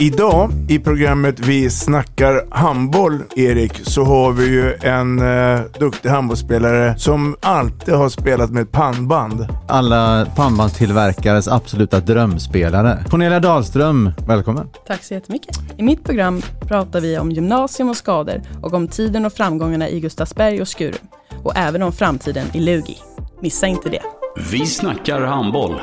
Idag i programmet Vi snackar handboll, Erik, så har vi ju en eh, duktig handbollsspelare som alltid har spelat med ett pannband. alla pannbandstillverkares absoluta drömspelare. Cornelia Dahlström, välkommen. Tack så jättemycket. I mitt program pratar vi om gymnasium och skador och om tiden och framgångarna i Gustavsberg och Skuru. Och även om framtiden i Lugi. Missa inte det. Vi snackar handboll.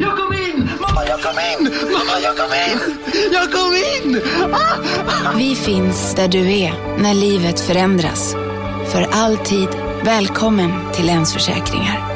Jag kom in! Mamma, jag kom in! Mamma, jag kom in! Jag kom in! Ah! Vi finns där du är när livet förändras. För alltid välkommen till Länsförsäkringar.